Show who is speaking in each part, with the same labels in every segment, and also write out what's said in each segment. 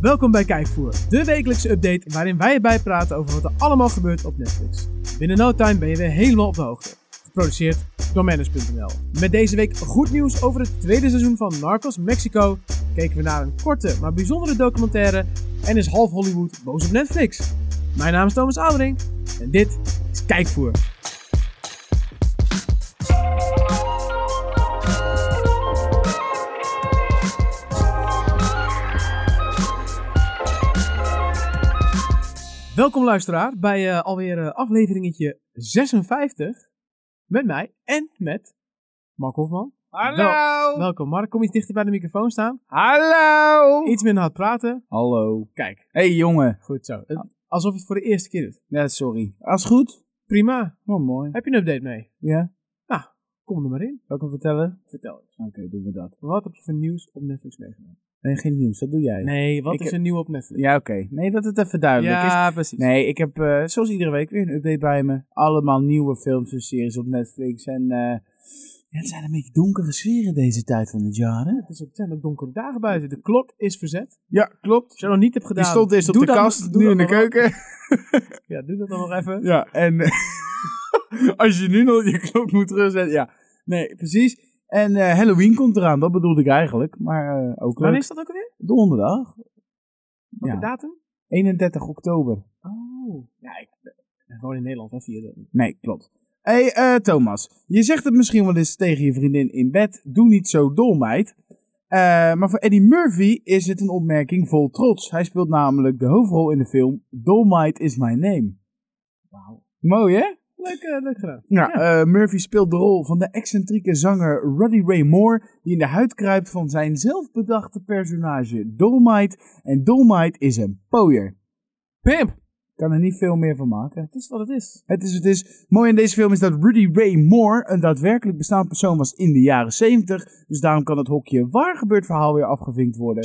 Speaker 1: Welkom bij Kijkvoer, de wekelijkse update waarin wij je bijpraten over wat er allemaal gebeurt op Netflix. Binnen no time ben je weer helemaal op de hoogte. Geproduceerd door Manus.nl. Met deze week goed nieuws over het tweede seizoen van Narcos Mexico, keken we naar een korte maar bijzondere documentaire en is half Hollywood boos op Netflix. Mijn naam is Thomas Oudering en dit is Kijkvoer. Welkom luisteraar bij eh, alweer eh, afleveringetje 56 met mij en met Mark Hofman.
Speaker 2: Hallo!
Speaker 1: Welkom Mark, kom iets dichter bij de microfoon staan.
Speaker 2: Hallo!
Speaker 1: Iets minder hard praten.
Speaker 2: Hallo.
Speaker 1: Kijk,
Speaker 2: hey, jongen.
Speaker 1: goed zo. Het- Alsof je het voor de eerste keer doet.
Speaker 2: Ja, sorry. Als goed?
Speaker 1: Prima.
Speaker 2: Oh, mooi.
Speaker 1: Heb je een update mee? Nou,
Speaker 2: Ja?
Speaker 1: Kom er maar in.
Speaker 2: Welkom vertellen?
Speaker 1: Vertel eens.
Speaker 2: Oké, doen we dat.
Speaker 1: Wat heb je voor nieuws op Netflix meegenomen?
Speaker 2: Nee, geen nieuws. Dat doe jij.
Speaker 1: Nee, wat
Speaker 2: Ik
Speaker 1: is
Speaker 2: heb-
Speaker 1: er nieuw op Netflix?
Speaker 2: Ja, oké. Nee, dat het even duidelijk is.
Speaker 1: Ja, precies.
Speaker 2: Nee, ik heb eh, zoals iedere week weer een update bij me. Allemaal nieuwe films en series op Netflix. En eh, ja, het zijn een beetje donkere sferen deze tijd van het jaar, hè?
Speaker 1: Het, is, het zijn ook donkere dagen buiten. De klok is verzet.
Speaker 2: Ja, klopt.
Speaker 1: Als je dat nog niet hebt gedaan,
Speaker 2: Die stond eerst op
Speaker 1: doe
Speaker 2: de
Speaker 1: dat-
Speaker 2: kast,
Speaker 1: doe
Speaker 2: nu
Speaker 1: dat
Speaker 2: in de
Speaker 1: nog wel.
Speaker 2: keuken.
Speaker 1: Ja, doe dat dan nog even.
Speaker 2: Ja, en als je nu nog je klok moet terugzetten, ja. Nee, precies. En eh, Halloween komt eraan, dat bedoelde ik eigenlijk. Maar eh, ook leuk.
Speaker 1: Wanneer is dat ook alweer?
Speaker 2: Donderdag,
Speaker 1: Welke
Speaker 2: Ja.
Speaker 1: datum?
Speaker 2: 31 oktober.
Speaker 1: Oh. Ja, ik, ik woon in Nederland, hè, vier dat.
Speaker 2: Nee, klopt. hey, eh, Thomas, je zegt het misschien wel eens tegen je vriendin in bed, doe niet zo dol meid. Eh, maar voor Eddie Murphy is het een opmerking vol trots. Hij speelt namelijk de hoofdrol in de film Dolmite is My Name.
Speaker 1: Wauw.
Speaker 2: Mooi hè?
Speaker 1: Leuk, eh, leuk gedaan.
Speaker 2: Ja, eh, Murphy speelt de rol van de excentrieke zanger Ruddy Ray Moore, die in de huid kruipt van zijn zelfbedachte personage Dolmite. En Dolmite is een pooier.
Speaker 1: Pimp!
Speaker 2: Kan er niet veel meer van maken.
Speaker 1: Het is wat het is.
Speaker 2: Het is, het is. Mooi in deze film is dat Rudy Ray Moore een daadwerkelijk bestaand persoon was in de jaren 70. Dus daarom kan het hokje waar gebeurd verhaal weer afgevinkt worden.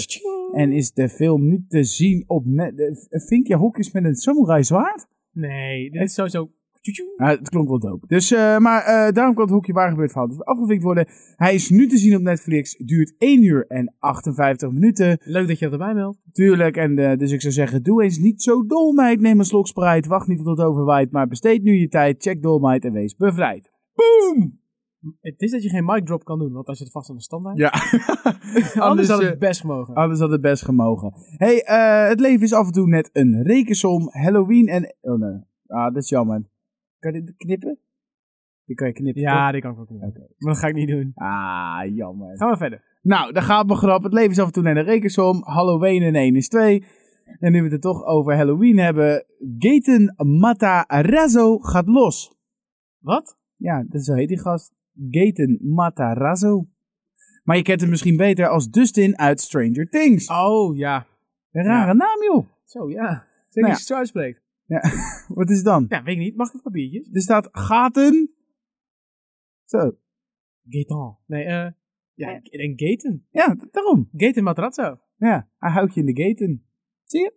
Speaker 2: En is de film niet te zien op net. eh, Vink je hokjes met een samurai zwaard?
Speaker 1: Nee, dit is sowieso... Tjoetjoe.
Speaker 2: Ja, het klonk wel dope. Dus, eh, maar eh, daarom kan het hoekje waar gebeurd verhaal dus afgevinkt worden. Hij is nu te zien op Netflix. Duurt 1 uur en 58 minuten.
Speaker 1: Leuk dat je dat erbij meldt.
Speaker 2: Tuurlijk, en eh, dus ik zou zeggen, doe eens niet zo dol, meid. Neem een slok Sprite. Wacht niet tot het overwaait, maar besteed nu je tijd. Check dolmeid en wees bevrijd. Boom!
Speaker 1: Het is dat je geen mic drop kan doen, want als je het vast aan de standaard.
Speaker 2: Ja.
Speaker 1: Anders had
Speaker 2: eh,
Speaker 1: het best mogen.
Speaker 2: Anders had het best gemogen. hey, eh, het leven is af en toe net een rekensom. Halloween en... Oh nee, ah, dat is jammer. Kan je dit knippen? Die kan je knippen, toch?
Speaker 1: ja, dit kan ik ook niet.
Speaker 2: Oké.
Speaker 1: Maar dat ga ik niet doen.
Speaker 2: Ah, jammer.
Speaker 1: Gaan we verder.
Speaker 2: Nou, daar gaat mijn grap. Het leven is af en toe naar de rekensom. Halloween in 1 is 2. En nu we het er toch over Halloween hebben. Gaten Matarazzo gaat los.
Speaker 1: Wat?
Speaker 2: Ja, dat zo heet die gast. Gaten Matarazzo. Maar je kent hem misschien beter als Dustin uit Stranger Things.
Speaker 1: Oh, ja.
Speaker 2: Een rare naam, joh.
Speaker 1: Zo, ja. Zeker als
Speaker 2: Nou ja.
Speaker 1: je het zo uitspreekt.
Speaker 2: Wat is het dan?
Speaker 1: Ja, weet ik niet. Mag ik het papiertje?
Speaker 2: Er staat Gaten. Zo.
Speaker 1: Gaetan. Nee, eh... ja,
Speaker 2: Ja.
Speaker 1: en Gaten.
Speaker 2: Ja, daarom.
Speaker 1: Gaten Materazzo.
Speaker 2: Ja, hij houdt je in de gaten. Zie je?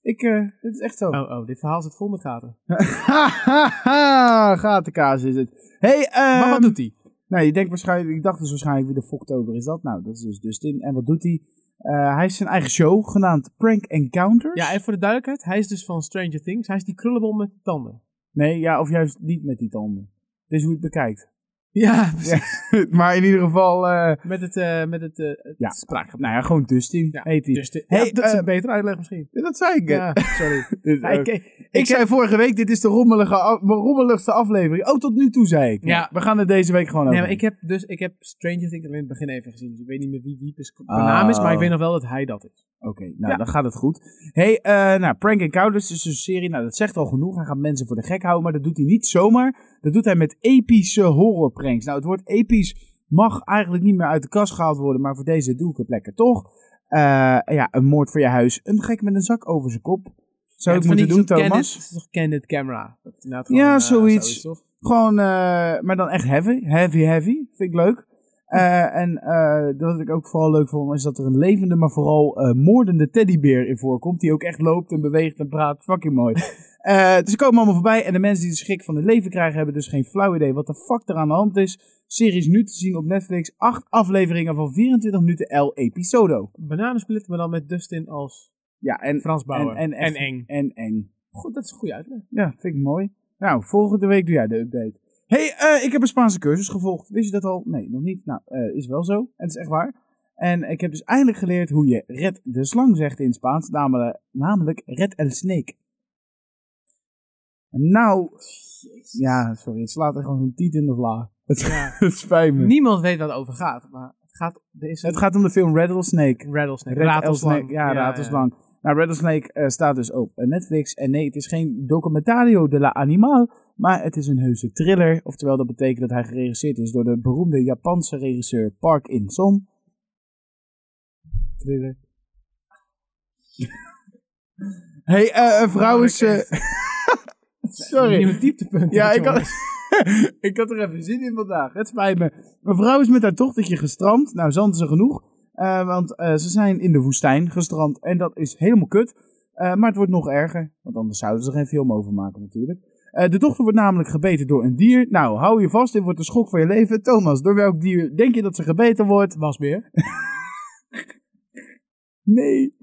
Speaker 2: Ik, eh, dit is echt zo.
Speaker 1: Oh, oh, dit verhaal zit vol met gaten.
Speaker 2: Ha, ha, ha, gatenkaas is het. Hey,
Speaker 1: maar
Speaker 2: ehm,
Speaker 1: wat doet hij?
Speaker 2: Nou, je denkt waarschijnlijk, ik dacht dus waarschijnlijk wie de Foktober is dat? Nou, dat is dus Dustin. En wat doet hij? Eh, hij heeft zijn eigen show genaamd Prank Encounters.
Speaker 1: Ja, en voor de duidelijkheid, hij is dus van Stranger Things. Hij is die krullenbol met de tanden.
Speaker 2: Nee, ja, of juist niet met die tanden. Dus hoe je het bekijkt.
Speaker 1: Ja, precies.
Speaker 2: maar in ieder geval, eh,
Speaker 1: Met het, eh met het, eh het
Speaker 2: Ja.
Speaker 1: spraakgebrek.
Speaker 2: nou ja, gewoon Dustin
Speaker 1: Ja,
Speaker 2: heet hij.
Speaker 1: Dus de-
Speaker 2: Hey,
Speaker 1: ja, dat is
Speaker 2: eh,
Speaker 1: een betere uitleg misschien.
Speaker 2: Dat zei ik.
Speaker 1: Ja, sorry.
Speaker 2: Dus,
Speaker 1: Ja,
Speaker 2: eh,
Speaker 1: ik- ik-
Speaker 2: ik zei vorige week, dit is de rommelige, af- rommeligste aflevering. Oh, tot nu toe zei ik.
Speaker 1: Ja.
Speaker 2: We gaan het deze week gewoon
Speaker 1: nee,
Speaker 2: over.
Speaker 1: maar ik heb dus ik heb Stranger Things alleen in het begin even gezien. Dus ik weet niet meer wie Wiepes
Speaker 2: Oh.
Speaker 1: naam is, maar ik weet nog wel dat hij dat is.
Speaker 2: Oké, nou
Speaker 1: Ja.
Speaker 2: dan gaat het goed. hey, eh, nou, Prank Encounters is een serie, nou dat zegt al genoeg. Hij gaat mensen voor de gek houden, maar dat doet hij niet zomaar. Dat doet hij met epische horrorpranks. Nou, het woord episch mag eigenlijk niet meer uit de kast gehaald worden, maar voor deze doe ik het lekker toch. Eh, ja, een moord voor je huis. Een gek met een zak over zijn kop. Zou
Speaker 1: Ja,
Speaker 2: ik
Speaker 1: van die zo'n
Speaker 2: moeten doen,
Speaker 1: Candid-
Speaker 2: Thomas?
Speaker 1: Het is toch Candid Camera? Dat is inderdaad
Speaker 2: Ja,
Speaker 1: gewoon, eh,
Speaker 2: zoiets.
Speaker 1: toch?
Speaker 2: Gewoon, eh, maar dan echt heavy. Heavy, heavy. Vind ik leuk. Eh, en eh, dat ik ook vooral leuk vond, is dat er een levende, maar vooral eh, moordende teddybeer in voorkomt. Die ook echt loopt en beweegt en praat. Fucking mooi. Eh, dus ze komen allemaal voorbij. En de mensen die de schrik van het leven krijgen, hebben dus geen flauw idee wat de fuck er aan de hand is. Serie is nu te zien op Netflix. Acht afleveringen van 24 minuten E El Episodo.
Speaker 1: Bananensplit, maar dan met Dustin als
Speaker 2: Ja, en,
Speaker 1: Frans Bauer.
Speaker 2: en- en echt-
Speaker 1: eng.
Speaker 2: en eng.
Speaker 1: Goed, dat is een goede uitleg.
Speaker 2: Ja, vind ik mooi. Nou, volgende week doe jij de update. hey, eh, ik heb een Spaanse cursus gevolgd. Wist je dat al? Nee, nog niet. Nou, eh, is wel zo. En het is echt waar. En ik heb dus eindelijk geleerd hoe je red de slang zegt in Spaans. Namelijk, namelijk red el snake. En nou, ja, sorry. Het slaat er gewoon zo'n tiet in de vla. Het,
Speaker 1: Ja.
Speaker 2: het spijt me.
Speaker 1: Niemand weet wat het over gaat, maar het gaat... Er is
Speaker 2: Het gaat om de film Rattlesnake.
Speaker 1: rattlesnake.
Speaker 2: Red
Speaker 1: ratelslang.
Speaker 2: Rattlesnake. Ja, ratelslang. Nou, Rattlesnake eh, staat dus op eh, Netflix. En nee, het is geen documentario de la animal, maar het is een heuse thriller. Oftewel, dat betekent dat hij geregisseerd is door de beroemde Japanse regisseur Park In-sung. Thriller. hey, eh, een vrouw
Speaker 1: Oh,
Speaker 2: is... eh,
Speaker 1: Sorry.
Speaker 2: sorry.
Speaker 1: Nieuw dieptepunt.
Speaker 2: Ja,
Speaker 1: dit,
Speaker 2: ik had,
Speaker 1: jongens.
Speaker 2: ik had er even zin in vandaag. Het spijt me. Mijn vrouw is met haar dochtertje gestrand. Nou, zand is er genoeg. Eh, want eh, ze zijn in de woestijn gestrand. En dat is helemaal kut. Eh, maar het wordt nog erger. Want anders zouden ze er geen film over maken natuurlijk. Eh, de dochter wordt namelijk gebeten door een dier. Nou, hou je vast. Dit wordt de schok van je leven. Thomas, door welk dier denk je dat ze gebeten wordt?
Speaker 1: Wasbeer.
Speaker 2: Nee.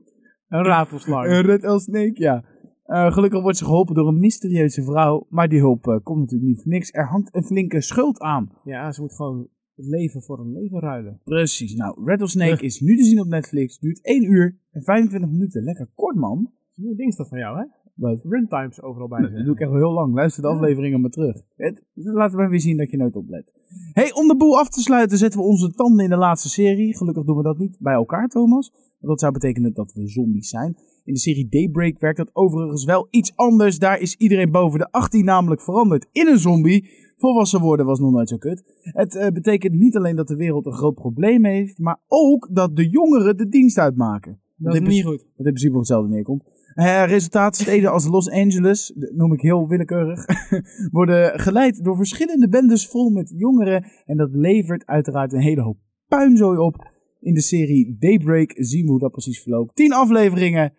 Speaker 1: Een ratelslang.
Speaker 2: Een red als snake, ja. Eh, gelukkig wordt ze geholpen door een mysterieuze vrouw. Maar die hulp eh, komt natuurlijk niet voor niks. Er hangt een flinke schuld aan.
Speaker 1: ja, ze moet gewoon het leven voor een leven ruilen.
Speaker 2: Precies. Nou, Rattlesnake is nu te zien op Netflix. Duurt 1 uur en 25 minuten. Lekker kort, man.
Speaker 1: Nieuw ding is dat van jou, hè?
Speaker 2: Wat?
Speaker 1: Runtimes overal bij.
Speaker 2: Dat doe ik echt wel heel lang. Luister de
Speaker 1: Ja.
Speaker 2: afleveringen maar terug. Het, laten we weer zien dat je nooit oplet. hey, om de boel af te sluiten zetten we onze tanden in de laatste serie. Gelukkig doen we dat niet bij elkaar, Thomas. Want dat zou betekenen dat we zombies zijn. In de serie Daybreak werkt dat overigens wel iets anders. Daar is iedereen boven de 18 namelijk veranderd in een zombie. Volwassen worden was nog nooit zo kut. Het eh, betekent niet alleen dat de wereld een groot probleem heeft, maar ook dat de jongeren de dienst uitmaken.
Speaker 1: Dat is
Speaker 2: Dit
Speaker 1: niet goed.
Speaker 2: Wat in principe op hetzelfde neerkomt. Eh, resultaat, steden als Los Angeles, dat noem ik heel willekeurig, worden geleid door verschillende bendes vol met jongeren. En dat levert uiteraard een hele hoop puinzooi op. In de serie Daybreak zien we hoe dat precies verloopt. 10 afleveringen,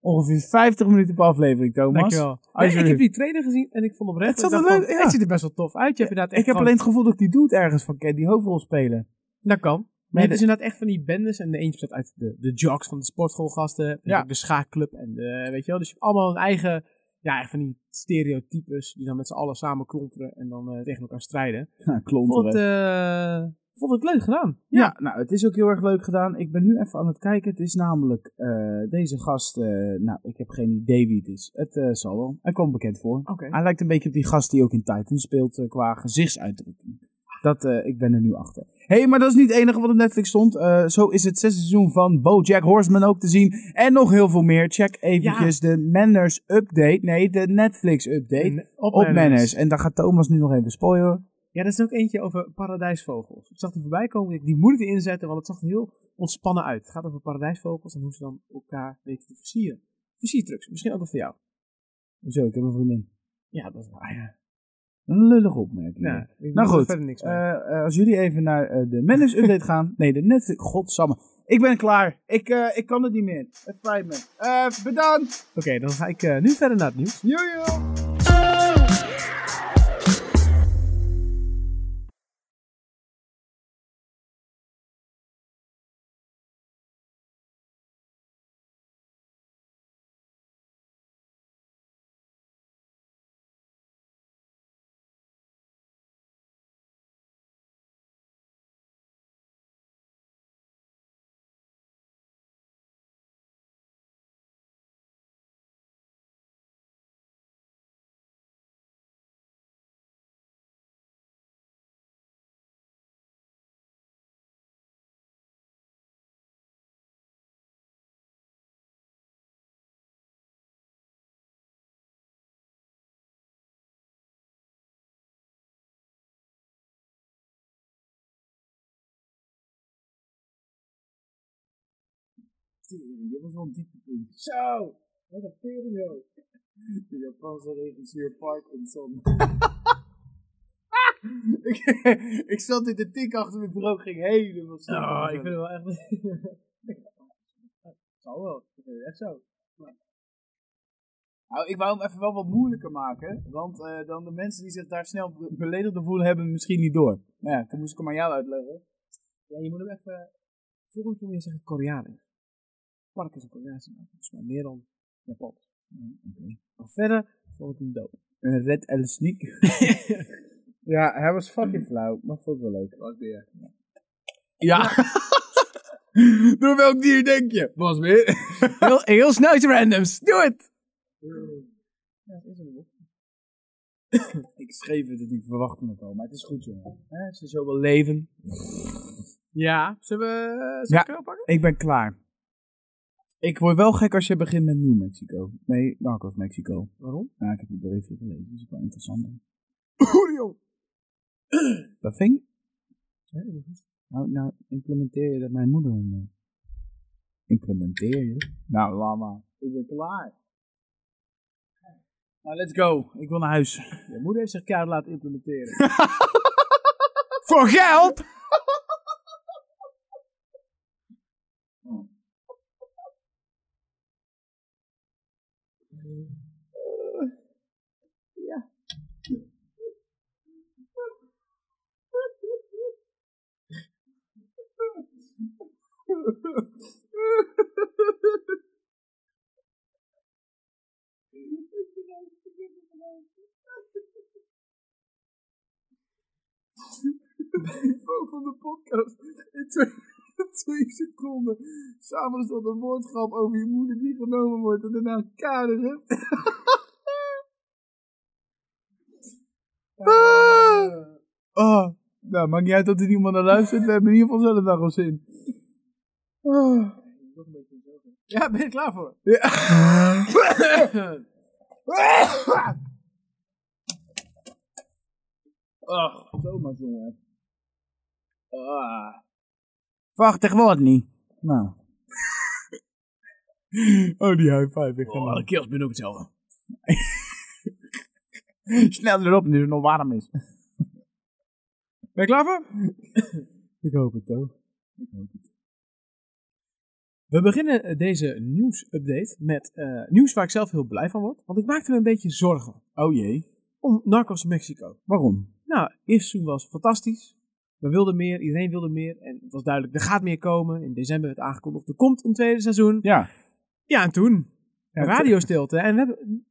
Speaker 2: ongeveer 50 minuten per aflevering, Thomas.
Speaker 1: Dankjewel.
Speaker 2: Als
Speaker 1: Nee,
Speaker 2: je-
Speaker 1: ik heb die trailer gezien en ik vond oprecht...
Speaker 2: Het zat
Speaker 1: ik dacht
Speaker 2: er leuk-
Speaker 1: van,
Speaker 2: ja.
Speaker 1: Het ziet er best wel tof uit. Je hebt inderdaad echt
Speaker 2: Ik heb
Speaker 1: gewoon-
Speaker 2: alleen Nou, het gevoel dat ik die dude ergens van ken, die hoofdrol spelen.
Speaker 1: Dat kan. Maar
Speaker 2: Maar
Speaker 1: je
Speaker 2: de-
Speaker 1: hebt dus inderdaad echt van die bendes. En de eentje bestaat uit de, de jocks van de sportschoolgasten.
Speaker 2: Ja.
Speaker 1: Ja. De schaakclub en de, weet je wel. Dus je hebt allemaal hun eigen, ja, echt van die stereotypes. Die dan met z'n allen samen klonteren en dan eh, tegen elkaar strijden.
Speaker 2: Ja,
Speaker 1: Vond
Speaker 2: klonteren.
Speaker 1: het, eh, vond het leuk gedaan.
Speaker 2: Ja. nou, het is ook heel erg leuk gedaan. Ik ben nu even aan het kijken. Het is namelijk eh, deze gast. eh, nou, ik heb geen idee wie het is. Het eh, zal wel. Hij komt bekend voor.
Speaker 1: Oké.
Speaker 2: Hij lijkt een beetje op die gast die ook in Titan speelt eh, qua gezichtsuitdrukking. Dat, eh, ik ben er nu achter. Hé, hey, maar dat is niet het enige wat op Netflix stond. Eh, zo is het zesde seizoen van BoJack Horseman ook te zien. En nog heel veel meer. Check eventjes de Manners Update. Nee, de Netflix Update.
Speaker 1: eh, Op,
Speaker 2: Op
Speaker 1: Manners.
Speaker 2: Manners. En daar gaat Thomas nu nog even spoilen.
Speaker 1: Ja, dat is ook eentje over paradijsvogels. Ik zag die voorbij komen. ik- Die moet ik inzetten, want het zag er heel ontspannen uit. Het gaat over paradijsvogels en hoe ze dan elkaar weten te versieren. Versiertrucs. Misschien ook wel voor jou.
Speaker 2: Zo, ik heb een vriendin.
Speaker 1: Ja, dat is waar. Ja.
Speaker 2: Een lullige opmerking.
Speaker 1: Ja, ik doe
Speaker 2: Nou
Speaker 1: er
Speaker 2: goed,
Speaker 1: Verder niks mee.
Speaker 2: Eh, eh, als jullie even naar eh, de Manage Update gaan. Nee, de Netflix. Godsamme. Ik ben klaar. Ik, eh, ik kan het niet meer. Het spijt me. Eh, bedankt.
Speaker 1: Oké, dan ga ik eh, nu verder naar het nieuws.
Speaker 2: Jojo. Tering, dit was wel een dieptepunt. Zo, wat een periode. De Japanse regisseur Parkinson. ik, ik zat in de tik achter mijn bureau, ging helemaal stuk.
Speaker 1: Oh, ik vind het wel echt. Zal wel, ik vind het echt zo.
Speaker 2: Nou, ik wou hem even wel wat moeilijker maken, want eh, dan de mensen die zich daar snel be- beledigd door voelen, hebben hem misschien niet door. Nou ja, toen moest ik hem aan jou uitleggen.
Speaker 1: Ja, je moet hem even. Volgende keer moet je zeggen Koreanen. Park is een Koreaanse naam. Volgens mij meer dan Japan. Maar verder vond ik hem dood.
Speaker 2: Een Red El Sneak.
Speaker 3: Ja, hij was fucking flauw, maar vond het wel leuk.
Speaker 1: Wat weer?
Speaker 2: Ja. Door welk dier denk je?
Speaker 1: Was weer?
Speaker 2: Heel, heel snel iets randoms. Doe het!
Speaker 1: Ja, dat is een boek.
Speaker 2: Ik schreef het en ik verwachtte het al, maar het is goed, jongen. Hè, Ze zo wel leven.
Speaker 1: Ja, zullen we zullen we
Speaker 2: Ja.
Speaker 1: Keulen pakken?
Speaker 2: Ik ben klaar. Ik word wel gek als je begint met New Mexico. Nee, Narcos Mexico.
Speaker 1: Waarom?
Speaker 2: Nou, ik heb het berichtje gelezen, dus is wel interessant.
Speaker 1: Orion!
Speaker 2: Dat vind ik- Nou, nou, implementeer je dat mijn moeder hem, eh, Implementeer je? Nou, lama.
Speaker 1: Ik ben klaar.
Speaker 2: Nou, let's go. Ik wil naar huis.
Speaker 1: Je moeder heeft zich keihard laten implementeren.
Speaker 2: Voor geld?
Speaker 1: Niveau van de podcast in twee, twee seconden. Samengesteld een woordgrap over je moeder die genomen wordt en daarna een kader hebt.
Speaker 2: Ah. Oh. Nou, maakt niet uit dat er niemand naar luistert. We hebben in ieder geval zelf daar wel zin. Ah.
Speaker 1: Ja, ben je klaar voor?
Speaker 2: Ach, Thomas, jongen. Ah. Prachtig woord niet. Nou. oh, die high five. Ik ga maar.
Speaker 1: keels ben ook hetzelfde.
Speaker 2: Snel erop, nu het nog warm is.
Speaker 1: Ben je klaar voor?
Speaker 2: Ik hoop het ook. Ik hoop het.
Speaker 1: We beginnen eh, deze nieuwsupdate met eh, nieuws waar ik zelf heel blij van word. Want ik maakte me een beetje zorgen
Speaker 2: Oh jee.
Speaker 1: om Narcos Mexico.
Speaker 2: Waarom?
Speaker 1: Nou, eerste seizoen was fantastisch. We wilden meer, iedereen wilde meer. En het was duidelijk, er gaat meer komen. In december werd aangekondigd, er komt een tweede seizoen.
Speaker 2: Ja.
Speaker 1: Ja, en toen?
Speaker 2: Ja,
Speaker 1: radiostilte. En we hebben...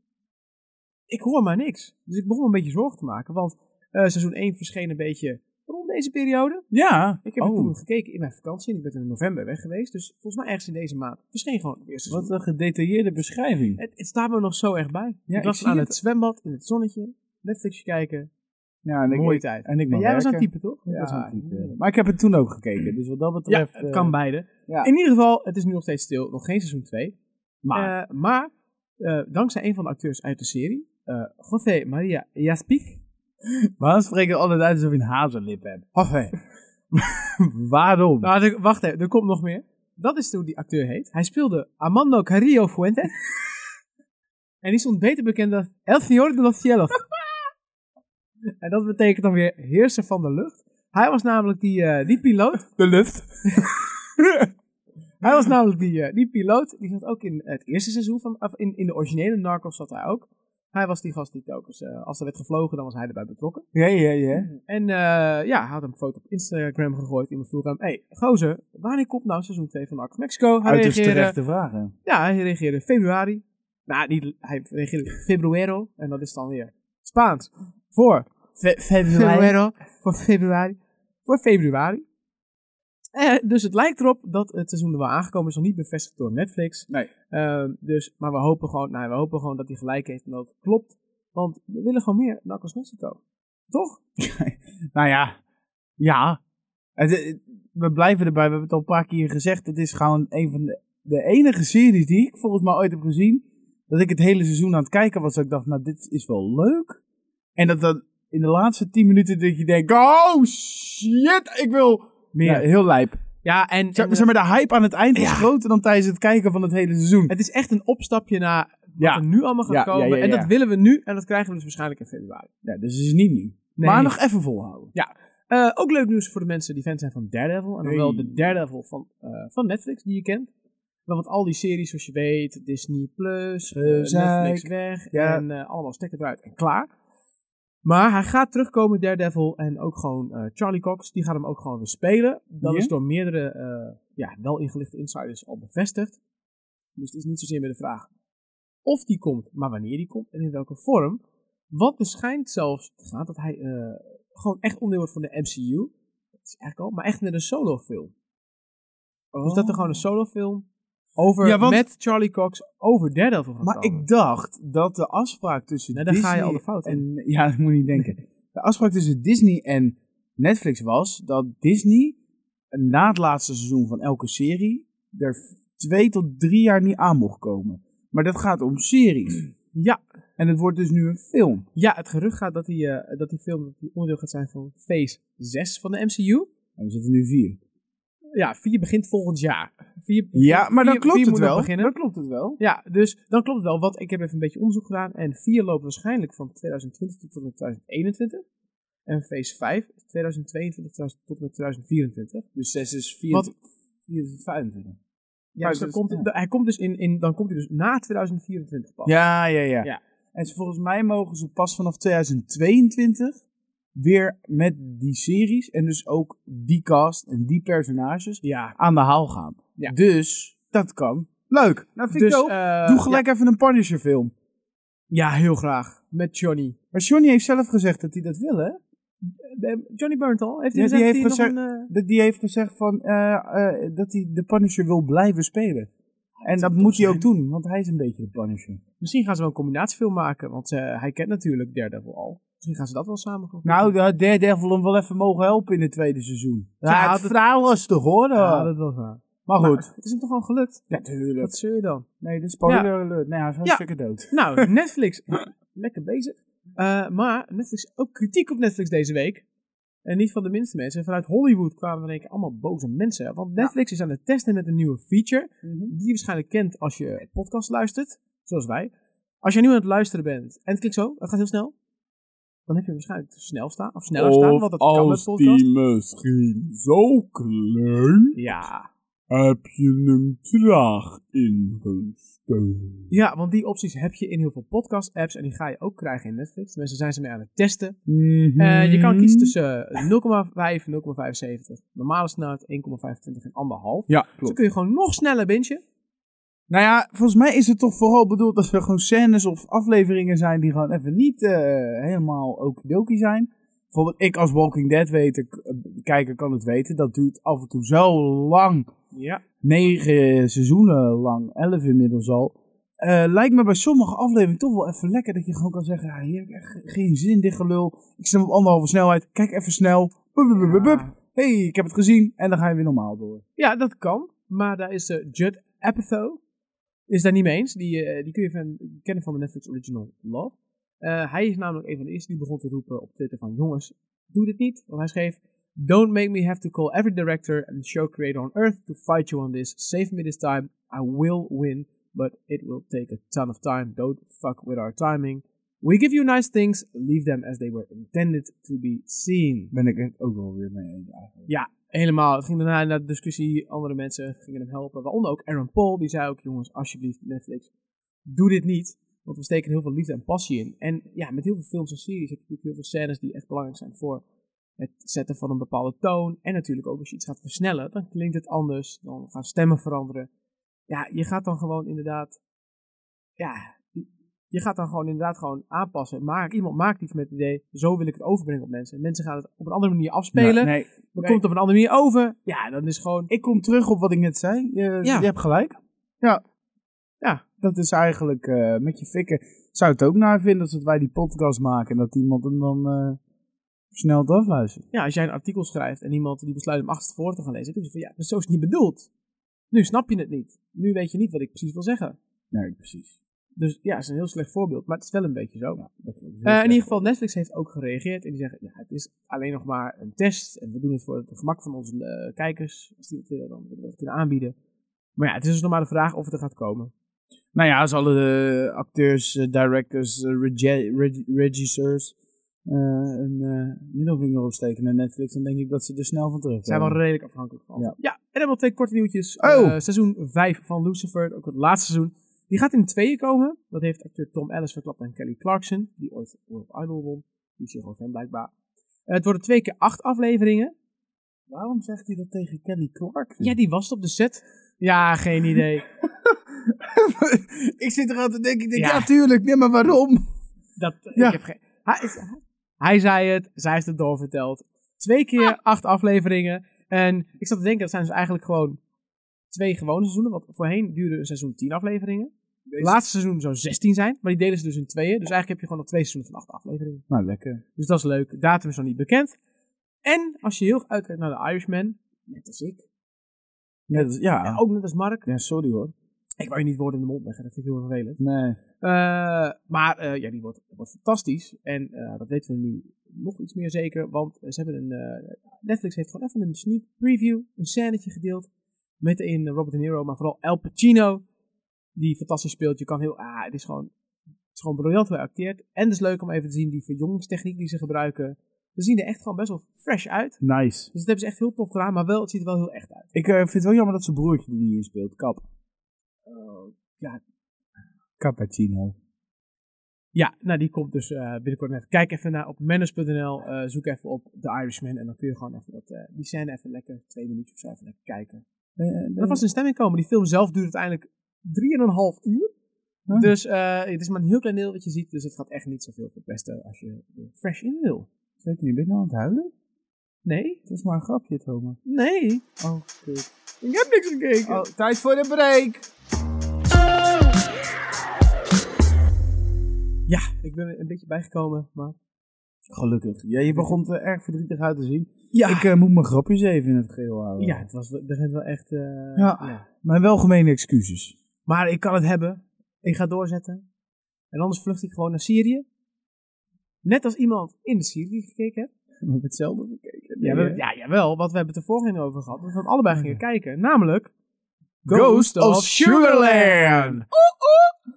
Speaker 1: Ik hoor maar niks. Dus ik begon me een beetje zorgen te maken. Want eh, seizoen 1 verscheen een beetje rond deze periode.
Speaker 2: Ja.
Speaker 1: Ik heb
Speaker 2: oh,
Speaker 1: toen gekeken in mijn vakantie. En ik ben in november weg geweest. Dus volgens mij ergens in deze maand verscheen gewoon het eerste seizoen.
Speaker 2: Wat een gedetailleerde beschrijving.
Speaker 1: Het, het staat me nog zo erg bij.
Speaker 2: Ja,
Speaker 1: ik
Speaker 2: ik
Speaker 1: was
Speaker 2: zie
Speaker 1: aan het.
Speaker 2: het.
Speaker 1: zwembad, in het zonnetje, Netflix kijken.
Speaker 2: Ja, en
Speaker 1: Mooie tijd.
Speaker 2: En ik
Speaker 1: En
Speaker 2: mag
Speaker 1: jij was
Speaker 2: werken.
Speaker 1: aan het typen, toch?
Speaker 2: Ja,
Speaker 1: was aan het
Speaker 2: ik,
Speaker 1: typen.
Speaker 2: eh, Maar ik heb het toen ook gekeken, dus wat dat
Speaker 1: Ja,
Speaker 2: betreft...
Speaker 1: het
Speaker 2: eh,
Speaker 1: kan beide.
Speaker 2: ja.
Speaker 1: In ieder geval, het is nu nog steeds stil. Nog geen seizoen 2.
Speaker 2: Maar,
Speaker 1: Maar, maar eh, dankzij een van de acteurs uit de serie, eh José Maria Jaspic.
Speaker 2: waarom spreken alle Duitsers alsof je een hazenlip hebt? waarom?
Speaker 1: Nou, er- wacht even, er komt nog meer. Dat is hoe die acteur heet. Hij speelde Armando Carrillo Fuentes. en die stond beter bekend als El Señor de los Cielos. en dat betekent dan weer heerser van de lucht. Hij was namelijk die, eh, die piloot.
Speaker 2: de lucht.
Speaker 1: Hij was namelijk die, eh, die piloot. Die zat ook in het eerste seizoen van. Of in, in de originele Narcos zat hij ook. Hij was die gast die telkens. eh, als er werd gevlogen, dan was hij erbij betrokken.
Speaker 2: Ja, ja, ja.
Speaker 1: En eh, ja, hij had een foto op Instagram gegooid. Iemand vroeg aan hem: Hey, gozer, wanneer komt nou seizoen 2 van Narcos Mexico? Hij
Speaker 2: Uiterst
Speaker 1: reageerde:
Speaker 2: terechte vragen.
Speaker 1: Ja, hij reageerde in februari. Nou, niet, hij reageerde in februero. En dat is dan weer Spaans. Voor februero. Voor februari. Voor februari. Eh, dus het lijkt erop dat het seizoen er wel aangekomen is. Nog niet bevestigd door Netflix.
Speaker 2: Nee.
Speaker 1: Ehm, dus, maar we hopen, gewoon, nou, we hopen gewoon dat hij gelijk heeft en dat het klopt. Want we willen gewoon meer Narcos Mexico. Toch?
Speaker 2: Nou ja, ja. Het- het- we blijven erbij, we hebben het al een paar keer gezegd. Het is gewoon een van de, de enige series die ik volgens mij ooit heb gezien. Dat ik het hele seizoen aan het kijken was. Dat ik dacht, nou dit is wel leuk. En dat dan in de laatste tien minuten dat je denkt, oh shit, ik wil...
Speaker 1: Meer.
Speaker 2: Ja, heel lijp.
Speaker 1: Ja, en, en,
Speaker 2: Zeg, zeg maar, de hype aan het eind is groter dan tijdens het kijken van het hele seizoen.
Speaker 1: het is echt een opstapje naar wat
Speaker 2: Ja.
Speaker 1: er nu allemaal gaat
Speaker 2: Ja, ja,
Speaker 1: komen.
Speaker 2: ja, ja,
Speaker 1: En dat
Speaker 2: ja.
Speaker 1: willen we nu en dat krijgen we dus waarschijnlijk in februari.
Speaker 2: Ja, dus het is niet nieuw.
Speaker 1: Nee.
Speaker 2: Maar nog even volhouden.
Speaker 1: Eh, ook leuk nieuws voor de mensen die fan zijn van Daredevil. En dan
Speaker 2: Hey.
Speaker 1: wel de Daredevil van, eh, van Netflix die je kent. Maar Want al die series, zoals je weet, Disney Plus, eh,
Speaker 2: Gezeik.
Speaker 1: Netflix weg.
Speaker 2: Ja.
Speaker 1: En eh, allemaal stekker eruit en klaar. Maar hij gaat terugkomen, Daredevil. En ook gewoon eh, Charlie Cox, die gaat hem ook gewoon weer spelen. Dat
Speaker 2: Ja?
Speaker 1: is door meerdere, eh, ja, wel ingelichte insiders al bevestigd. Dus het is niet zozeer meer de vraag of die komt, maar wanneer die komt en in welke vorm. Want er schijnt zelfs te gaan dat hij eh, gewoon echt onderdeel wordt van de MCU. Dat is eigenlijk al, maar echt met een solofilm. Dus dat er gewoon een solofilm over
Speaker 2: Oh. Ja, want-
Speaker 1: met Charlie Cox over Daredevil gaat
Speaker 2: Maar
Speaker 1: komen.
Speaker 2: ik dacht dat de afspraak tussen
Speaker 1: Nee, daar
Speaker 2: Disney...
Speaker 1: ga je al de fout in.
Speaker 2: En, ja, dat moet je niet denken. De afspraak tussen Disney en Netflix was dat Disney na het laatste seizoen van elke serie er twee tot drie jaar niet aan mocht komen. Maar dat gaat om series.
Speaker 1: Ja.
Speaker 2: En het wordt dus nu een film.
Speaker 1: Ja, het gerucht gaat dat die, eh, dat die film dat die onderdeel gaat zijn van Phase 6 van de MCU.
Speaker 2: En we zitten nu vier.
Speaker 1: Ja, 4 begint volgend jaar. 4,
Speaker 2: Ja, maar dan
Speaker 1: vier-
Speaker 2: klopt
Speaker 1: vier
Speaker 2: het
Speaker 1: moet nog
Speaker 2: wel.
Speaker 1: beginnen.
Speaker 2: Dan klopt het wel.
Speaker 1: Ja, dus dan klopt het wel, want ik heb even een beetje onderzoek gedaan. En 4 loopt waarschijnlijk van 2020 tot en met 2021. En phase 5 is 2022 tot en met 2024.
Speaker 2: Dus zes is vier.
Speaker 1: Wat-
Speaker 2: vier is 25.
Speaker 1: Ja, dus dan
Speaker 2: dus-
Speaker 1: komt, hij komt dus in, in, dan komt hij dus na 2024 pas.
Speaker 2: Ja, ja, ja.
Speaker 1: Ja.
Speaker 2: En ze- volgens mij mogen ze pas vanaf 2022 weer met die series en dus ook die cast en die personages
Speaker 1: Ja.
Speaker 2: aan de haal gaan.
Speaker 1: Ja.
Speaker 2: Dus dat kan. Leuk. Nou, vind
Speaker 1: Dus,
Speaker 2: ik ook.
Speaker 1: eh,
Speaker 2: Doe gelijk even een Punisher film.
Speaker 1: Ja, ja, heel graag. Met Johnny.
Speaker 2: Maar Johnny heeft zelf gezegd dat hij dat wil, hè?
Speaker 1: Eh, Johnny Burntal, heeft hij
Speaker 2: Ja, die
Speaker 1: gezegd dat
Speaker 2: heeft
Speaker 1: hij nog
Speaker 2: gezegd-
Speaker 1: een... eh,
Speaker 2: Dat die heeft gezegd van, eh, eh, dat hij de Punisher wil blijven spelen. En dat
Speaker 1: zou
Speaker 2: moet hij
Speaker 1: tof
Speaker 2: ook doen, want hij is een beetje de Punisher.
Speaker 1: Misschien gaan ze wel een combinatiefilm maken, want eh, hij kent natuurlijk Daredevil al. Misschien gaan ze dat wel samen doen.
Speaker 2: Nou, daar had Daredevil hem wel even mogen helpen in het tweede seizoen.
Speaker 1: Ja,
Speaker 2: Ja,
Speaker 1: dat-
Speaker 2: het verhaal was toch hoor.
Speaker 1: ja, dat was waar. Nou,
Speaker 2: Maar goed.
Speaker 1: Het is hem toch wel gelukt?
Speaker 2: Natuurlijk.
Speaker 1: Wat zul je dan?
Speaker 2: Nee, dit is spoiler alert. Nee, hij is hartstikke dood.
Speaker 1: Nou, Netflix. Lekker bezig. Eh, maar Netflix, ook kritiek op Netflix deze week. En niet van de minste mensen. En vanuit Hollywood kwamen er in één keer allemaal boze mensen. Want Netflix is aan het testen met een nieuwe feature.
Speaker 2: Nou,
Speaker 1: Die je waarschijnlijk kent als je podcast luistert. Zoals wij. Als je nu aan het luisteren bent. En klik zo, dat gaat heel snel. Dan heb je hem waarschijnlijk snel staan. Of sneller staan. Want dat kan met podcast.
Speaker 2: misschien zo klein,
Speaker 1: Ja.
Speaker 2: heb je hem traag ingestoken.
Speaker 1: ja, want die opties heb je in heel veel podcast apps. En die ga je ook krijgen in Netflix. Mensen zijn ze mee aan het testen. Eh, je kan
Speaker 2: Hmm.
Speaker 1: kiezen tussen eh, 0,5, 0,75, normale snelheid 1,25 en anderhalf.
Speaker 2: Mhm. Ja,
Speaker 1: Dus dan
Speaker 2: klopt.
Speaker 1: kun je gewoon nog sneller bingen.
Speaker 2: Nou ja, volgens mij is het toch vooral bedoeld dat er gewoon scènes of afleveringen zijn die gewoon even niet eh, helemaal okidoki zijn. Bijvoorbeeld ik als Walking Dead weten, kijker kan het weten, dat duurt af en toe zo lang
Speaker 1: Ja.
Speaker 2: negen seizoenen lang, elf inmiddels al. eh, lijkt me bij sommige afleveringen toch wel even lekker dat je gewoon kan zeggen: ja, hier heb ik echt ge- geen zin in dit gelul. Ik stem op anderhalve snelheid, kijk even snel. Bup, bup, bup, bup, bup. hey, ik heb het gezien. En dan ga je weer normaal door.
Speaker 1: ja, dat kan. Maar daar is eh, Judd Apatow is daar niet mee eens. Die, eh, die kun je van, kennen van de Netflix original Love. Eh, hij is namelijk een van de eerste die begon te roepen op Twitter van jongens, doe dit niet. Want hij schreef, don't make me have to call every director and show creator on earth to fight you on this. Save me this time. I will win, but it will take a ton of time. Don't fuck with our timing. We give you nice things, leave them as they were intended to be seen.
Speaker 2: Ben ik het ook wel weer mee eens eigenlijk.
Speaker 1: Helemaal. Het ging daarna naar de discussie. Andere mensen gingen hem helpen. Waaronder ook Aaron Paul. Die zei ook, jongens, alsjeblieft Netflix, doe dit niet. Want we steken heel veel liefde en passie in. En ja, met heel veel films en series heb je natuurlijk heel veel scènes die echt belangrijk zijn voor het zetten van een bepaalde toon. En natuurlijk ook als je iets gaat versnellen, dan klinkt het anders. Dan gaan stemmen veranderen. Ja, je gaat dan gewoon inderdaad, ja, je gaat dan gewoon inderdaad gewoon aanpassen. Maak, iemand maakt iets met het idee, zo wil ik het overbrengen op mensen. En mensen gaan het op een andere manier afspelen.
Speaker 2: Ja, nee,
Speaker 1: Dan
Speaker 2: Nee.
Speaker 1: komt het op een andere manier over. Ja, dan is gewoon.
Speaker 2: ik kom terug op wat ik net zei. Je,
Speaker 1: Ja.
Speaker 2: je hebt gelijk. Ja. Ja, dat is eigenlijk eh, met je fikken. Zou het ook naar vinden als dat wij die podcast maken en dat iemand hem dan eh snel afluistert?
Speaker 1: Ja, als jij een artikel schrijft en iemand die besluit hem achterstevoren te gaan lezen, dan denk je van ja, maar zo is het niet bedoeld. Nu snap je het niet. Nu weet je niet wat ik precies wil zeggen.
Speaker 2: Nee, precies.
Speaker 1: Dus ja, het is een heel slecht voorbeeld, maar het is wel een beetje zo.
Speaker 2: Dat klopt.
Speaker 1: Eh, in ieder geval, Netflix heeft ook gereageerd en die zeggen, ja, het is alleen nog maar een test en we doen het voor het gemak van onze eh, kijkers. Als die dat willen, dan willen we dat kunnen aanbieden. Maar ja, het is dus nog maar de vraag of het er gaat komen.
Speaker 2: Nou ja, ze hadden eh, acteurs, eh, directors, eh, rege- reg- regisseurs eh, een eh, middelvinger opsteken naar Netflix. Dan denk ik dat ze er snel van terug
Speaker 1: Ze zijn wel redelijk afhankelijk van. Ja,
Speaker 2: Ja.
Speaker 1: en dan nog twee korte nieuwtjes.
Speaker 2: Oh.
Speaker 1: Eh, seizoen 5 van Lucifer, ook het laatste seizoen. Die gaat in tweeën komen. Dat heeft acteur Tom Ellis verklapt aan Kelly Clarkson, die ooit World Idol won. Die is hier gewoon fan blijkbaar. Eh, het worden twee keer acht afleveringen.
Speaker 2: Waarom zegt hij dat tegen Kelly Clark?
Speaker 1: Ja, die was het op de set. Ja, geen idee.
Speaker 2: ik zit er aan te denken, ik denk,
Speaker 1: Ja.
Speaker 2: ja. tuurlijk, nee, maar waarom?
Speaker 1: Dat,
Speaker 2: Ja.
Speaker 1: ik heb geen- hij, is- hij zei het, zij heeft het doorverteld. Twee keer
Speaker 2: Ah.
Speaker 1: acht afleveringen. En ik zat te denken, dat zijn dus eigenlijk gewoon twee gewone seizoenen. Want voorheen duurde een seizoen tien afleveringen. Het laatste seizoen zou 16 zijn, maar die delen ze dus in tweeën. Dus eigenlijk heb je gewoon nog twee seizoenen van acht afleveringen.
Speaker 2: Nou, lekker.
Speaker 1: Dus dat is leuk. Datum is nog niet bekend. En als je heel goed uitkijkt naar de Irishman, net als ik,
Speaker 2: Ja, dat is- ja.
Speaker 1: en ook net als Mark.
Speaker 2: Ja, sorry hoor.
Speaker 1: Ik wou je niet woorden in de mond leggen, dat vind ik heel vervelend.
Speaker 2: Nee.
Speaker 1: Eh, maar eh, ja, die wordt, wordt fantastisch. En eh, dat weten we nu nog iets meer zeker. Want ze hebben een. eh, Netflix heeft gewoon even een sneak preview, een scènetje gedeeld. Met in Robert De Niro, maar vooral Al Pacino. Die fantastisch speelt. Je kan heel. Ah, het is gewoon. Het is gewoon briljant geacteerd. En het is leuk om even te zien die verjongingstechniek die ze gebruiken. Ze zien er echt gewoon best wel fresh uit.
Speaker 2: Nice.
Speaker 1: Dus dat hebben ze echt heel tof gedaan. Maar wel, het ziet er wel heel echt uit.
Speaker 2: Ik eh, vind het wel jammer dat zijn broertje er niet in speelt. Kap.
Speaker 1: ja.
Speaker 2: Cappuccino.
Speaker 1: Ja, nou die komt dus eh, binnenkort net. Kijk even naar op manners.nl. eh, zoek even op The Irishman. En dan kun je gewoon even dat, eh, die scène even lekker twee minuutjes of zo even lekker kijken.
Speaker 2: Eh,
Speaker 1: En er was een stemming komen. Die film zelf duurt uiteindelijk drieënhalf uur.
Speaker 2: Huh?
Speaker 1: Dus eh, het is maar een heel klein deel wat je ziet. Dus het gaat echt niet zoveel verpesten als je er fresh in wil.
Speaker 2: Zeker niet. Ben je nou aan het huilen?
Speaker 1: Nee,
Speaker 2: Het is maar een grapje, Thomas.
Speaker 1: nee.
Speaker 2: Oh,
Speaker 1: Ik heb niks gekeken.
Speaker 2: tijd voor de break!
Speaker 1: Ja, ik ben er een beetje bijgekomen. Maar...
Speaker 2: Gelukkig. Ja, je begon er erg verdrietig uit te zien.
Speaker 1: Ja.
Speaker 2: Ik eh, moet mijn grapjes even in het geheel houden.
Speaker 1: ja, het was, er zijn wel echt... eh,
Speaker 2: Ja. Mijn welgemene excuses.
Speaker 1: Maar ik kan het hebben. Ik ga doorzetten. En anders vlucht ik gewoon naar Syrië. Net als iemand in de Syrië gekeken heeft.
Speaker 2: We hebben hetzelfde bekeken.
Speaker 1: Ja, we, ja, jawel, want we hebben het er vorige keer over gehad. Dat we hem allebei gingen kijken. Namelijk...
Speaker 2: Ghost of Sugarland!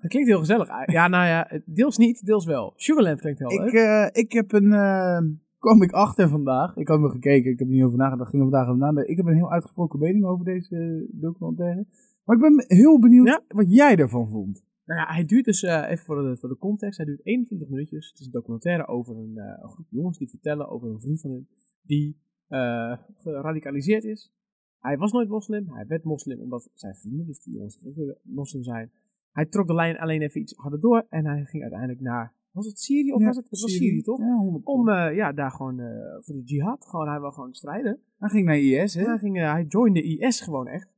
Speaker 1: Dat klinkt heel gezellig. Ja, nou ja, deels niet, deels wel. Sugarland klinkt heel leuk.
Speaker 2: Ik, eh, ik heb een. eh, kwam ik achter vandaag. Ik had me gekeken, ik heb er niet over nagedacht. Ging er vandaag over nadenken. Ik heb een heel uitgesproken mening over deze eh, documentaire. Maar ik ben heel benieuwd
Speaker 1: Ja?
Speaker 2: wat jij ervan vond.
Speaker 1: Nou ja, hij duurt dus, eh, even voor de, voor de context, hij duurt 21 minuutjes. Het is een documentaire over een, eh, een groep jongens die vertellen over een vriend van hun die eh, geradicaliseerd is. Hij was nooit moslim, hij werd moslim omdat zijn vrienden, dus die jongens, die willen moslim zijn. Hij trok de lijn alleen even iets harder door en hij ging uiteindelijk naar, was het Syrië of
Speaker 2: Ja,
Speaker 1: was het, het was Syrië toch?
Speaker 2: Ja, 100%.
Speaker 1: Om eh, ja, daar gewoon eh, voor de jihad, gewoon, hij wil gewoon strijden.
Speaker 2: Hij ging naar IS, hè?
Speaker 1: Ja, hij, ging, eh, hij joinde IS gewoon echt.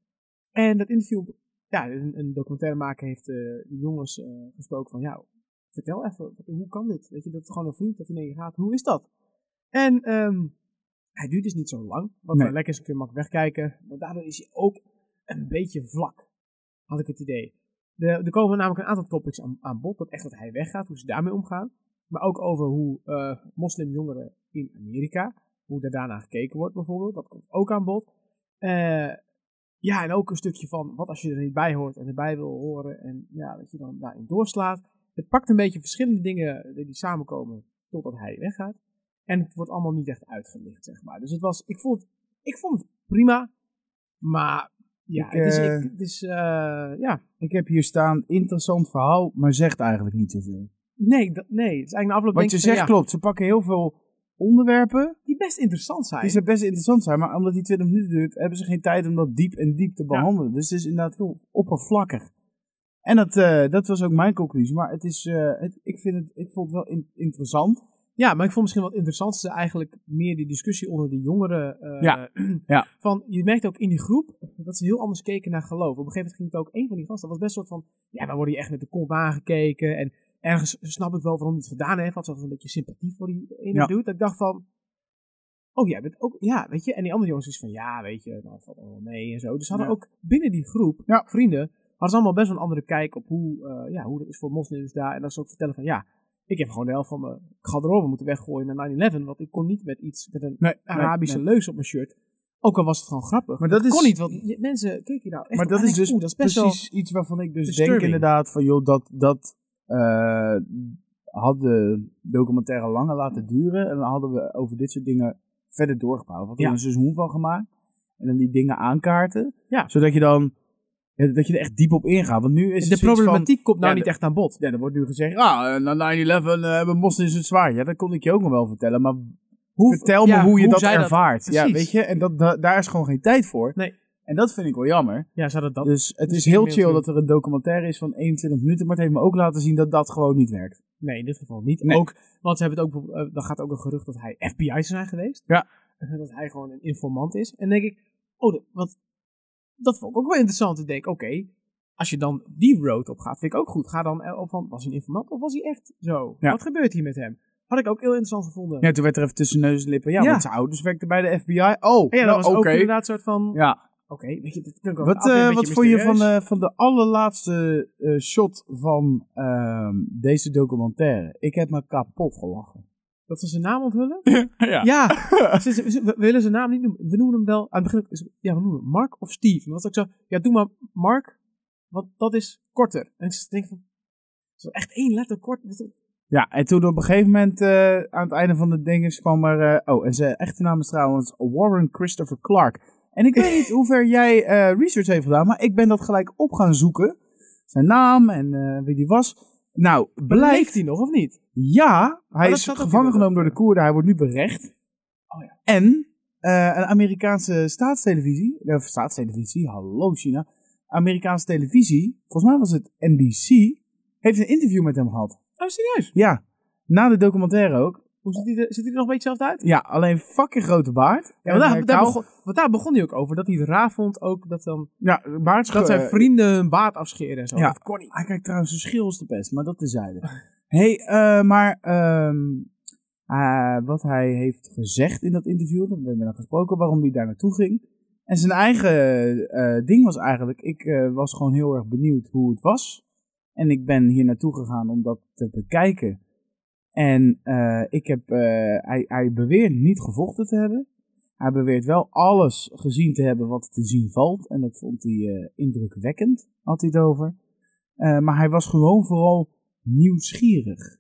Speaker 1: En dat interview, ja, een, een documentairemaker heeft eh die jongens eh, gesproken van, ja, vertel even, hoe kan dit? Weet je, dat gewoon een vriend dat hij naar je gaat, hoe is dat? En ehm, hij duurt dus niet zo lang, want
Speaker 2: Nee.
Speaker 1: eh, lekker is een keer makkelijk wegkijken. Maar daardoor is hij ook een beetje vlak, had ik het idee. De, er komen namelijk een aantal topics aan, aan bod, dat echt dat hij weggaat, hoe ze daarmee omgaan. Maar ook over hoe eh, moslimjongeren in Amerika, hoe daar daarna gekeken wordt bijvoorbeeld, dat komt ook aan bod. Eh, ja, en ook een stukje van wat als je er niet bij hoort en erbij wil horen en ja, dat je dan daarin doorslaat. Het pakt een beetje verschillende dingen die samenkomen totdat hij weggaat. En het wordt allemaal niet echt uitgelicht, zeg maar. Dus het was, ik vond, ik vond het prima, maar ja,
Speaker 2: Ik,
Speaker 1: het is,
Speaker 2: eh,
Speaker 1: ik- het is eh, ja,
Speaker 2: Ik heb hier staan, interessant verhaal, maar zegt eigenlijk niet zoveel.
Speaker 1: nee, dat, nee, het is eigenlijk na afloop
Speaker 2: Wat
Speaker 1: denk
Speaker 2: je
Speaker 1: ik van,
Speaker 2: zegt
Speaker 1: ja,
Speaker 2: klopt, ze pakken heel veel onderwerpen.
Speaker 1: die best interessant zijn.
Speaker 2: Die zijn best interessant zijn, maar omdat die 20 minuten duurt, hebben ze geen tijd om dat diep en diep te behandelen. Dus het is inderdaad heel oppervlakkig. En dat, eh, dat was ook mijn conclusie. Maar het is, eh, het, ik, vind het, ik vond het wel in- interessant.
Speaker 1: Ja, maar ik vond misschien wat interessantste eigenlijk meer die discussie onder de jongeren. eh,
Speaker 2: Ja, ja.
Speaker 1: Van, je merkt ook in die groep dat ze heel anders keken naar geloof. Op een gegeven moment ging het ook een van die gasten. Dat was best een soort van, ja, dan worden je echt met de kont aangekeken. En ergens snap ik wel waarom hij het gedaan heeft. Had zelfs een beetje sympathie voor die ene
Speaker 2: Ja.
Speaker 1: dude. Dat ik dacht van, oh jij bent ook, ja, weet je. En die andere jongens is van, ja, weet je, nou, het valt allemaal mee en zo. Dus ze hadden
Speaker 2: Ja.
Speaker 1: ook binnen die groep,
Speaker 2: Ja.
Speaker 1: vrienden, hadden ze allemaal best wel een andere kijk op hoe, eh, ja, hoe dat is voor moslims daar. En dat ze ook vertellen van, ja, ik heb gewoon de helft van mijn garderobe moeten weggooien naar 9-11. Want ik kon niet met iets, met een
Speaker 2: Nee,
Speaker 1: Arabische leus op mijn shirt. Ook al was het gewoon grappig.
Speaker 2: Maar dat is,
Speaker 1: kon niet, want je- mensen keken nou echt
Speaker 2: maar
Speaker 1: op
Speaker 2: dat
Speaker 1: aan en
Speaker 2: is
Speaker 1: denken,
Speaker 2: dus
Speaker 1: oeh, dat is best
Speaker 2: precies iets waarvan ik dus
Speaker 1: disturbing.
Speaker 2: denk inderdaad van, joh, dat, dat eh, had de documentaire langer laten duren. En dan hadden we over dit soort dingen verder doorgepraat. Want we
Speaker 1: Ja.
Speaker 2: er een seizoen van gemaakt. En dan die dingen aankaarten.
Speaker 1: Ja.
Speaker 2: Zodat je dan, ja, dat je er echt diep op ingaat. Want nu is
Speaker 1: wel...
Speaker 2: het
Speaker 1: De
Speaker 2: zoiets van-
Speaker 1: problematiek komt nou
Speaker 2: Ja,
Speaker 1: niet echt aan bod.
Speaker 2: Ja, er wordt nu gezegd, ja, eh, na 9-11 eh, hebben moslims het zwaar. Ja, dat kon ik je ook nog wel vertellen, maar
Speaker 1: Hoe,
Speaker 2: vertel me
Speaker 1: ja,
Speaker 2: hoe je dat
Speaker 1: zij
Speaker 2: ervaart. ja,
Speaker 1: precies.
Speaker 2: weet je, en dat, da- daar is gewoon geen tijd voor.
Speaker 1: Nee.
Speaker 2: En dat vind ik wel jammer.
Speaker 1: Ja, zou dat dat?
Speaker 2: Dus het is
Speaker 1: misschien
Speaker 2: heel
Speaker 1: heel
Speaker 2: chill
Speaker 1: goed.
Speaker 2: dat er een documentaire is van 21 minuten, maar het heeft me ook laten zien dat dat gewoon niet werkt.
Speaker 1: Nee, in dit geval niet.
Speaker 2: Nee.
Speaker 1: Ook, want ze hebben het ook, eh, dan gaat ook een gerucht dat hij FBI zou zijn geweest.
Speaker 2: Ja.
Speaker 1: En Dat hij gewoon een informant is. En dan denk ik, oh, dat, wat, dat vond ik ook wel interessant. Ik denk, oké, als je dan die road op gaat, vind ik ook goed. Ga dan eh, op van, was hij een informant of was hij echt zo?
Speaker 2: Ja.
Speaker 1: Wat gebeurt hier met hem? Had ik ook heel interessant gevonden.
Speaker 2: Ja, toen werd er even tussen neus en lippen. Ja,
Speaker 1: Ja.
Speaker 2: want zijn ouders werkten bij de FBI. Oh,
Speaker 1: En ja, dat
Speaker 2: nou,
Speaker 1: was
Speaker 2: oké.
Speaker 1: ook inderdaad een soort van,
Speaker 2: Ja.
Speaker 1: oké, weet je, dat kan ik ook
Speaker 2: Wat,
Speaker 1: altijd een
Speaker 2: eh,
Speaker 1: beetje
Speaker 2: wat vond je van,
Speaker 1: mysterieus.
Speaker 2: eh, van de allerlaatste eh, shot van ehm, deze documentaire? Ik heb me kapot gelachen.
Speaker 1: Dat ze zijn naam onthullen?
Speaker 2: Ja.
Speaker 1: eh, Ja, ze- ze- ze- we willen zijn naam niet noemen. We noemen hem wel, aan het begin, ook is- ja, we noemen hem Mark of Steve. En dat was ook zo, ja, doe maar Mark, want dat is korter. En ik denk van, zo echt één letter kort. Dat is-
Speaker 2: Ja, en toen op een gegeven moment eh, aan het einde van de dinges kwam er... eh, oh, en zijn echte naam is trouwens Warren Christopher Clark. En ik weet niet hoe ver jij eh, research heeft gedaan, maar ik ben dat gelijk op gaan zoeken. Zijn naam en eh, wie die was. Nou, blijkt...
Speaker 1: Leeft hij nog of niet?
Speaker 2: Ja, hij
Speaker 1: Oh, dat
Speaker 2: is
Speaker 1: zat ook
Speaker 2: gevangen
Speaker 1: inderdaad,
Speaker 2: genomen door de Koerden. Hij wordt nu berecht.
Speaker 1: Oh
Speaker 2: En eh, een Amerikaanse staatstelevisie, of staatstelevisie, hallo China. Amerikaanse televisie, volgens mij was het NBC, heeft een interview met hem gehad.
Speaker 1: Oh, serieus?
Speaker 2: Ja, na de documentaire ook.
Speaker 1: Hoe ziet hij, er, ziet hij er nog een beetje hetzelfde uit?
Speaker 2: Ja, alleen fucking grote baard.
Speaker 1: Ja, want
Speaker 2: En,
Speaker 1: daar,
Speaker 2: eh,
Speaker 1: daar
Speaker 2: kou-
Speaker 1: begon, want daar begon hij ook over. Dat hij het raar vond ook dat, dan,
Speaker 2: Ja, baard
Speaker 1: dat zijn
Speaker 2: eh,
Speaker 1: vrienden hun baard afscheren en zo.
Speaker 2: Ja.
Speaker 1: Dat kon niet.
Speaker 2: Hij kijkt trouwens zijn schil is de best, maar dat tezijde. Hé, hey, eh, maar ehm, eh, wat hij heeft gezegd in dat interview, dat hebben we dan gesproken, waarom hij daar naartoe ging. En zijn eigen eh, ding was eigenlijk, ik eh, was gewoon heel erg benieuwd hoe het was. En ik ben hier naartoe gegaan om dat te bekijken. En eh, ik heb, eh, hij, hij beweert niet gevochten te hebben. Hij beweert wel alles gezien te hebben wat te zien valt. En dat vond hij eh, indrukwekkend, had hij het over. Eh, maar hij was gewoon vooral nieuwsgierig.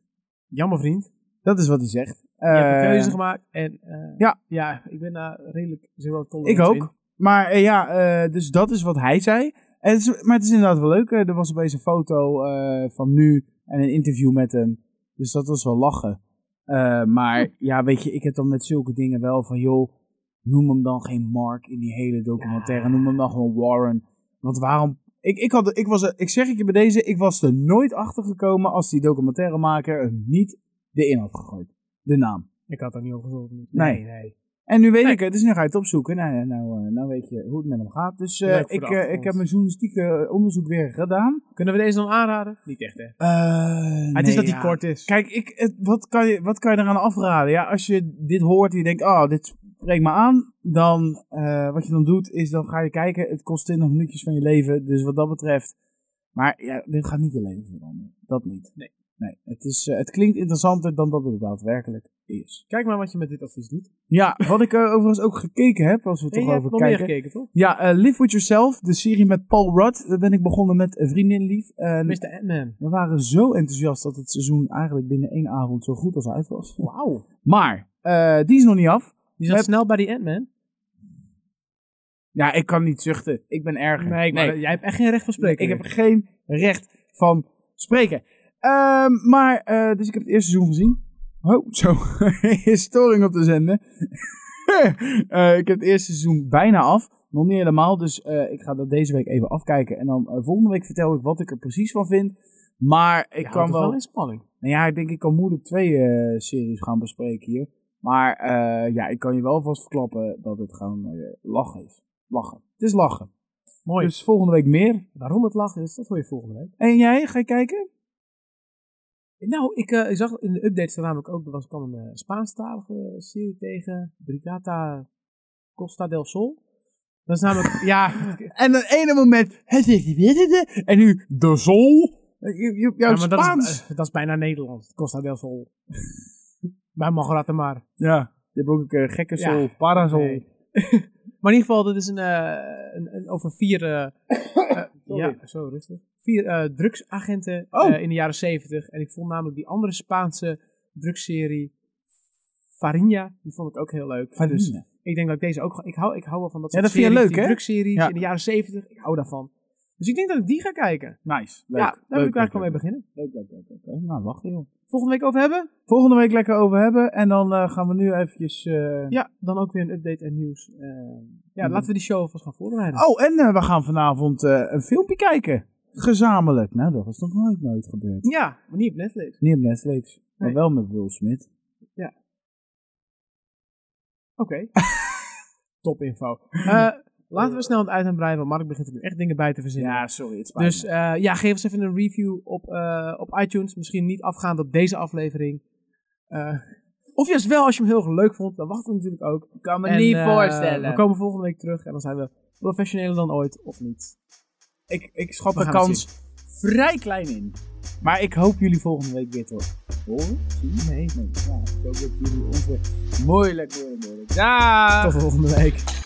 Speaker 1: Jammer vriend.
Speaker 2: Dat is wat hij zegt.
Speaker 1: Je hebt een
Speaker 2: Eh,
Speaker 1: keuze gemaakt. En eh,
Speaker 2: ja.
Speaker 1: ja, ik ben daar redelijk zero tolerance
Speaker 2: ik ook.
Speaker 1: in.
Speaker 2: Maar eh, ja, eh, dus dat is wat hij zei. En het is- maar het is inderdaad wel leuk. Eh, Er was opeens een foto eh, van nu en een interview met hem. Dus dat was wel lachen. Eh, maar ja, weet je, ik heb dan met zulke dingen wel van, joh, noem hem dan geen Mark in die hele documentaire.
Speaker 1: Ja.
Speaker 2: Noem hem dan gewoon Warren. Want waarom... Ik, ik, had, ik, was, er- ik zeg het je bij deze, ik was er nooit achter gekomen als die documentairemaker hem niet erin had gegooid. De naam.
Speaker 1: Ik had daar niet over gezocht.
Speaker 2: Nee.
Speaker 1: nee. nee.
Speaker 2: En nu weet
Speaker 1: Nee.
Speaker 2: ik het, dus nu ga je het opzoeken. Nou, ja, nou, eh, nou weet je hoe het met hem gaat. Dus eh,
Speaker 1: Leuk voor de
Speaker 2: ik, eh,
Speaker 1: achtergrond.
Speaker 2: ik heb mijn journalistieke eh, onderzoek weer gedaan. Eh,
Speaker 1: Kunnen we deze dan aanraden? Niet echt, hè? het is dat die kort is.
Speaker 2: Kijk, ik, het- wat, kan je, wat kan je eraan afraden? Ja, als je dit hoort en je denkt, oh, dit spreekt me aan. Dan, eh, wat je dan doet, is dan ga je kijken. Het kost 20 minuutjes van je leven. Dus wat dat betreft. Maar ja, dit gaat niet je leven veranderen. Dat niet.
Speaker 1: Nee.
Speaker 2: Nee, het, is, eh, het klinkt interessanter dan dat het daadwerkelijk is.
Speaker 1: Kijk maar wat je met dit advies doet.
Speaker 2: Ja, wat ik eh, overigens ook gekeken heb, als we het
Speaker 1: En
Speaker 2: toch
Speaker 1: je hebt
Speaker 2: over
Speaker 1: nog meer
Speaker 2: kijken.
Speaker 1: gekeken, toch?
Speaker 2: Ja, eh, Live With Yourself, de serie met Paul Rudd. Daar ben ik begonnen met een vriendin lief. En
Speaker 1: Mr. Ant-Man.
Speaker 2: we waren zo enthousiast dat het seizoen eigenlijk binnen één avond zo goed als uit was.
Speaker 1: Wauw.
Speaker 2: Maar, eh, die is nog niet af.
Speaker 1: Je zat
Speaker 2: Heb-
Speaker 1: snel bij die Ant-Man.
Speaker 2: Ja, ik kan niet zuchten. Ik ben erger.
Speaker 1: maar jij hebt echt geen recht van spreken.
Speaker 2: Ik heb geen recht van spreken. Ehm, maar, eh, dus ik heb het eerste seizoen gezien. Oh, zo. Is Storing op de zender. Eh, ik heb het eerste seizoen bijna af. Nog niet helemaal, dus eh, ik ga dat deze week even afkijken. En dan eh, volgende week vertel ik wat ik er precies van vind. Maar ik kan wel...
Speaker 1: in spanning.
Speaker 2: Nou ja, ik denk ik kan moeilijk twee eh, series gaan bespreken hier. Maar eh, ja, ik kan je wel vast verklappen dat het gewoon eh, lachen is. Lachen. Het is lachen.
Speaker 1: Mooi.
Speaker 2: Dus volgende week meer.
Speaker 1: Waarom het lachen is, dat hoor je volgende week.
Speaker 2: En jij, ga je kijken?
Speaker 1: Nou, ik, eh, ik zag in de updates namelijk ook, er was, kwam een eh, Spaanstalige serie tegen. Brigata Costa del Sol. Dat is namelijk, ja,
Speaker 2: En het ene moment, het is witte, en nu de zon. Je- je- Jouw
Speaker 1: ja, maar dat,
Speaker 2: Spaans.
Speaker 1: is, eh, dat is bijna Nederlands. Costa del Sol. bij Magratamar.
Speaker 2: ja, je hebt ook een gekke
Speaker 1: Ja.
Speaker 2: zon, parazol.
Speaker 1: Nee. maar in ieder geval, dat is een, eh, een, een- over vier, eh, eh, ja,
Speaker 2: Sorry.
Speaker 1: zo rustig. Vier eh, drugsagenten
Speaker 2: Oh.
Speaker 1: eh, in de jaren zeventig. En ik vond namelijk die andere Spaanse drugsserie Farinha, die vond ik ook heel leuk.
Speaker 2: Van
Speaker 1: Dus
Speaker 2: Nina.
Speaker 1: ik denk dat ik deze ook, ga- ik hou, ik hou wel van dat
Speaker 2: Ja,
Speaker 1: soort
Speaker 2: dat vind je
Speaker 1: series,
Speaker 2: leuk,
Speaker 1: die
Speaker 2: hè?
Speaker 1: drugsseries
Speaker 2: Ja.
Speaker 1: in de jaren zeventig. Ik hou daarvan. Dus ik denk dat ik die ga kijken.
Speaker 2: Nice. Leuk.
Speaker 1: ja, daar moet ik
Speaker 2: leuk,
Speaker 1: eigenlijk
Speaker 2: leuk,
Speaker 1: wel mee
Speaker 2: leuk.
Speaker 1: beginnen.
Speaker 2: Leuk, leuk, leuk, leuk, leuk. Nou, wacht joh.
Speaker 1: Volgende week over hebben?
Speaker 2: Volgende week lekker over hebben. En dan eh, gaan we nu eventjes... eh,
Speaker 1: Ja, dan ook weer een update en nieuws. Eh, ja,
Speaker 2: Mhm.
Speaker 1: laten we die show alvast gaan voorbereiden.
Speaker 2: Oh, en eh, we gaan vanavond eh, een filmpje kijken. Gezamenlijk. Nou, dat is nog nooit, nooit gebeurd.
Speaker 1: Ja, maar niet op Netflix.
Speaker 2: Niet op Netflix, maar
Speaker 1: Nee.
Speaker 2: wel met Will Smith.
Speaker 1: Oké. Top info. Eh, laten we snel aan het uit en breien, want Mark begint er nu echt dingen bij te verzinnen.
Speaker 2: sorry, het spijt
Speaker 1: dus eh, ja, geef ons even een review op, eh, op iTunes. Misschien niet afgaand op deze aflevering. Eh, of juist wel, als je hem heel erg leuk vond, dan wacht het natuurlijk ook.
Speaker 2: Ik kan me
Speaker 1: En,
Speaker 2: niet
Speaker 1: eh,
Speaker 2: voorstellen.
Speaker 1: We komen volgende week terug en dan zijn we professioneler dan ooit, of niet.
Speaker 2: ik, ik schat
Speaker 1: We
Speaker 2: de
Speaker 1: gaan het
Speaker 2: kans vrij klein in. Maar ik hoop jullie volgende week weer te horen. Zien? Nee, nee. Ja, ik hoop dat jullie onze moeilijk worden. moeilijk. Daag!
Speaker 1: Tot volgende week.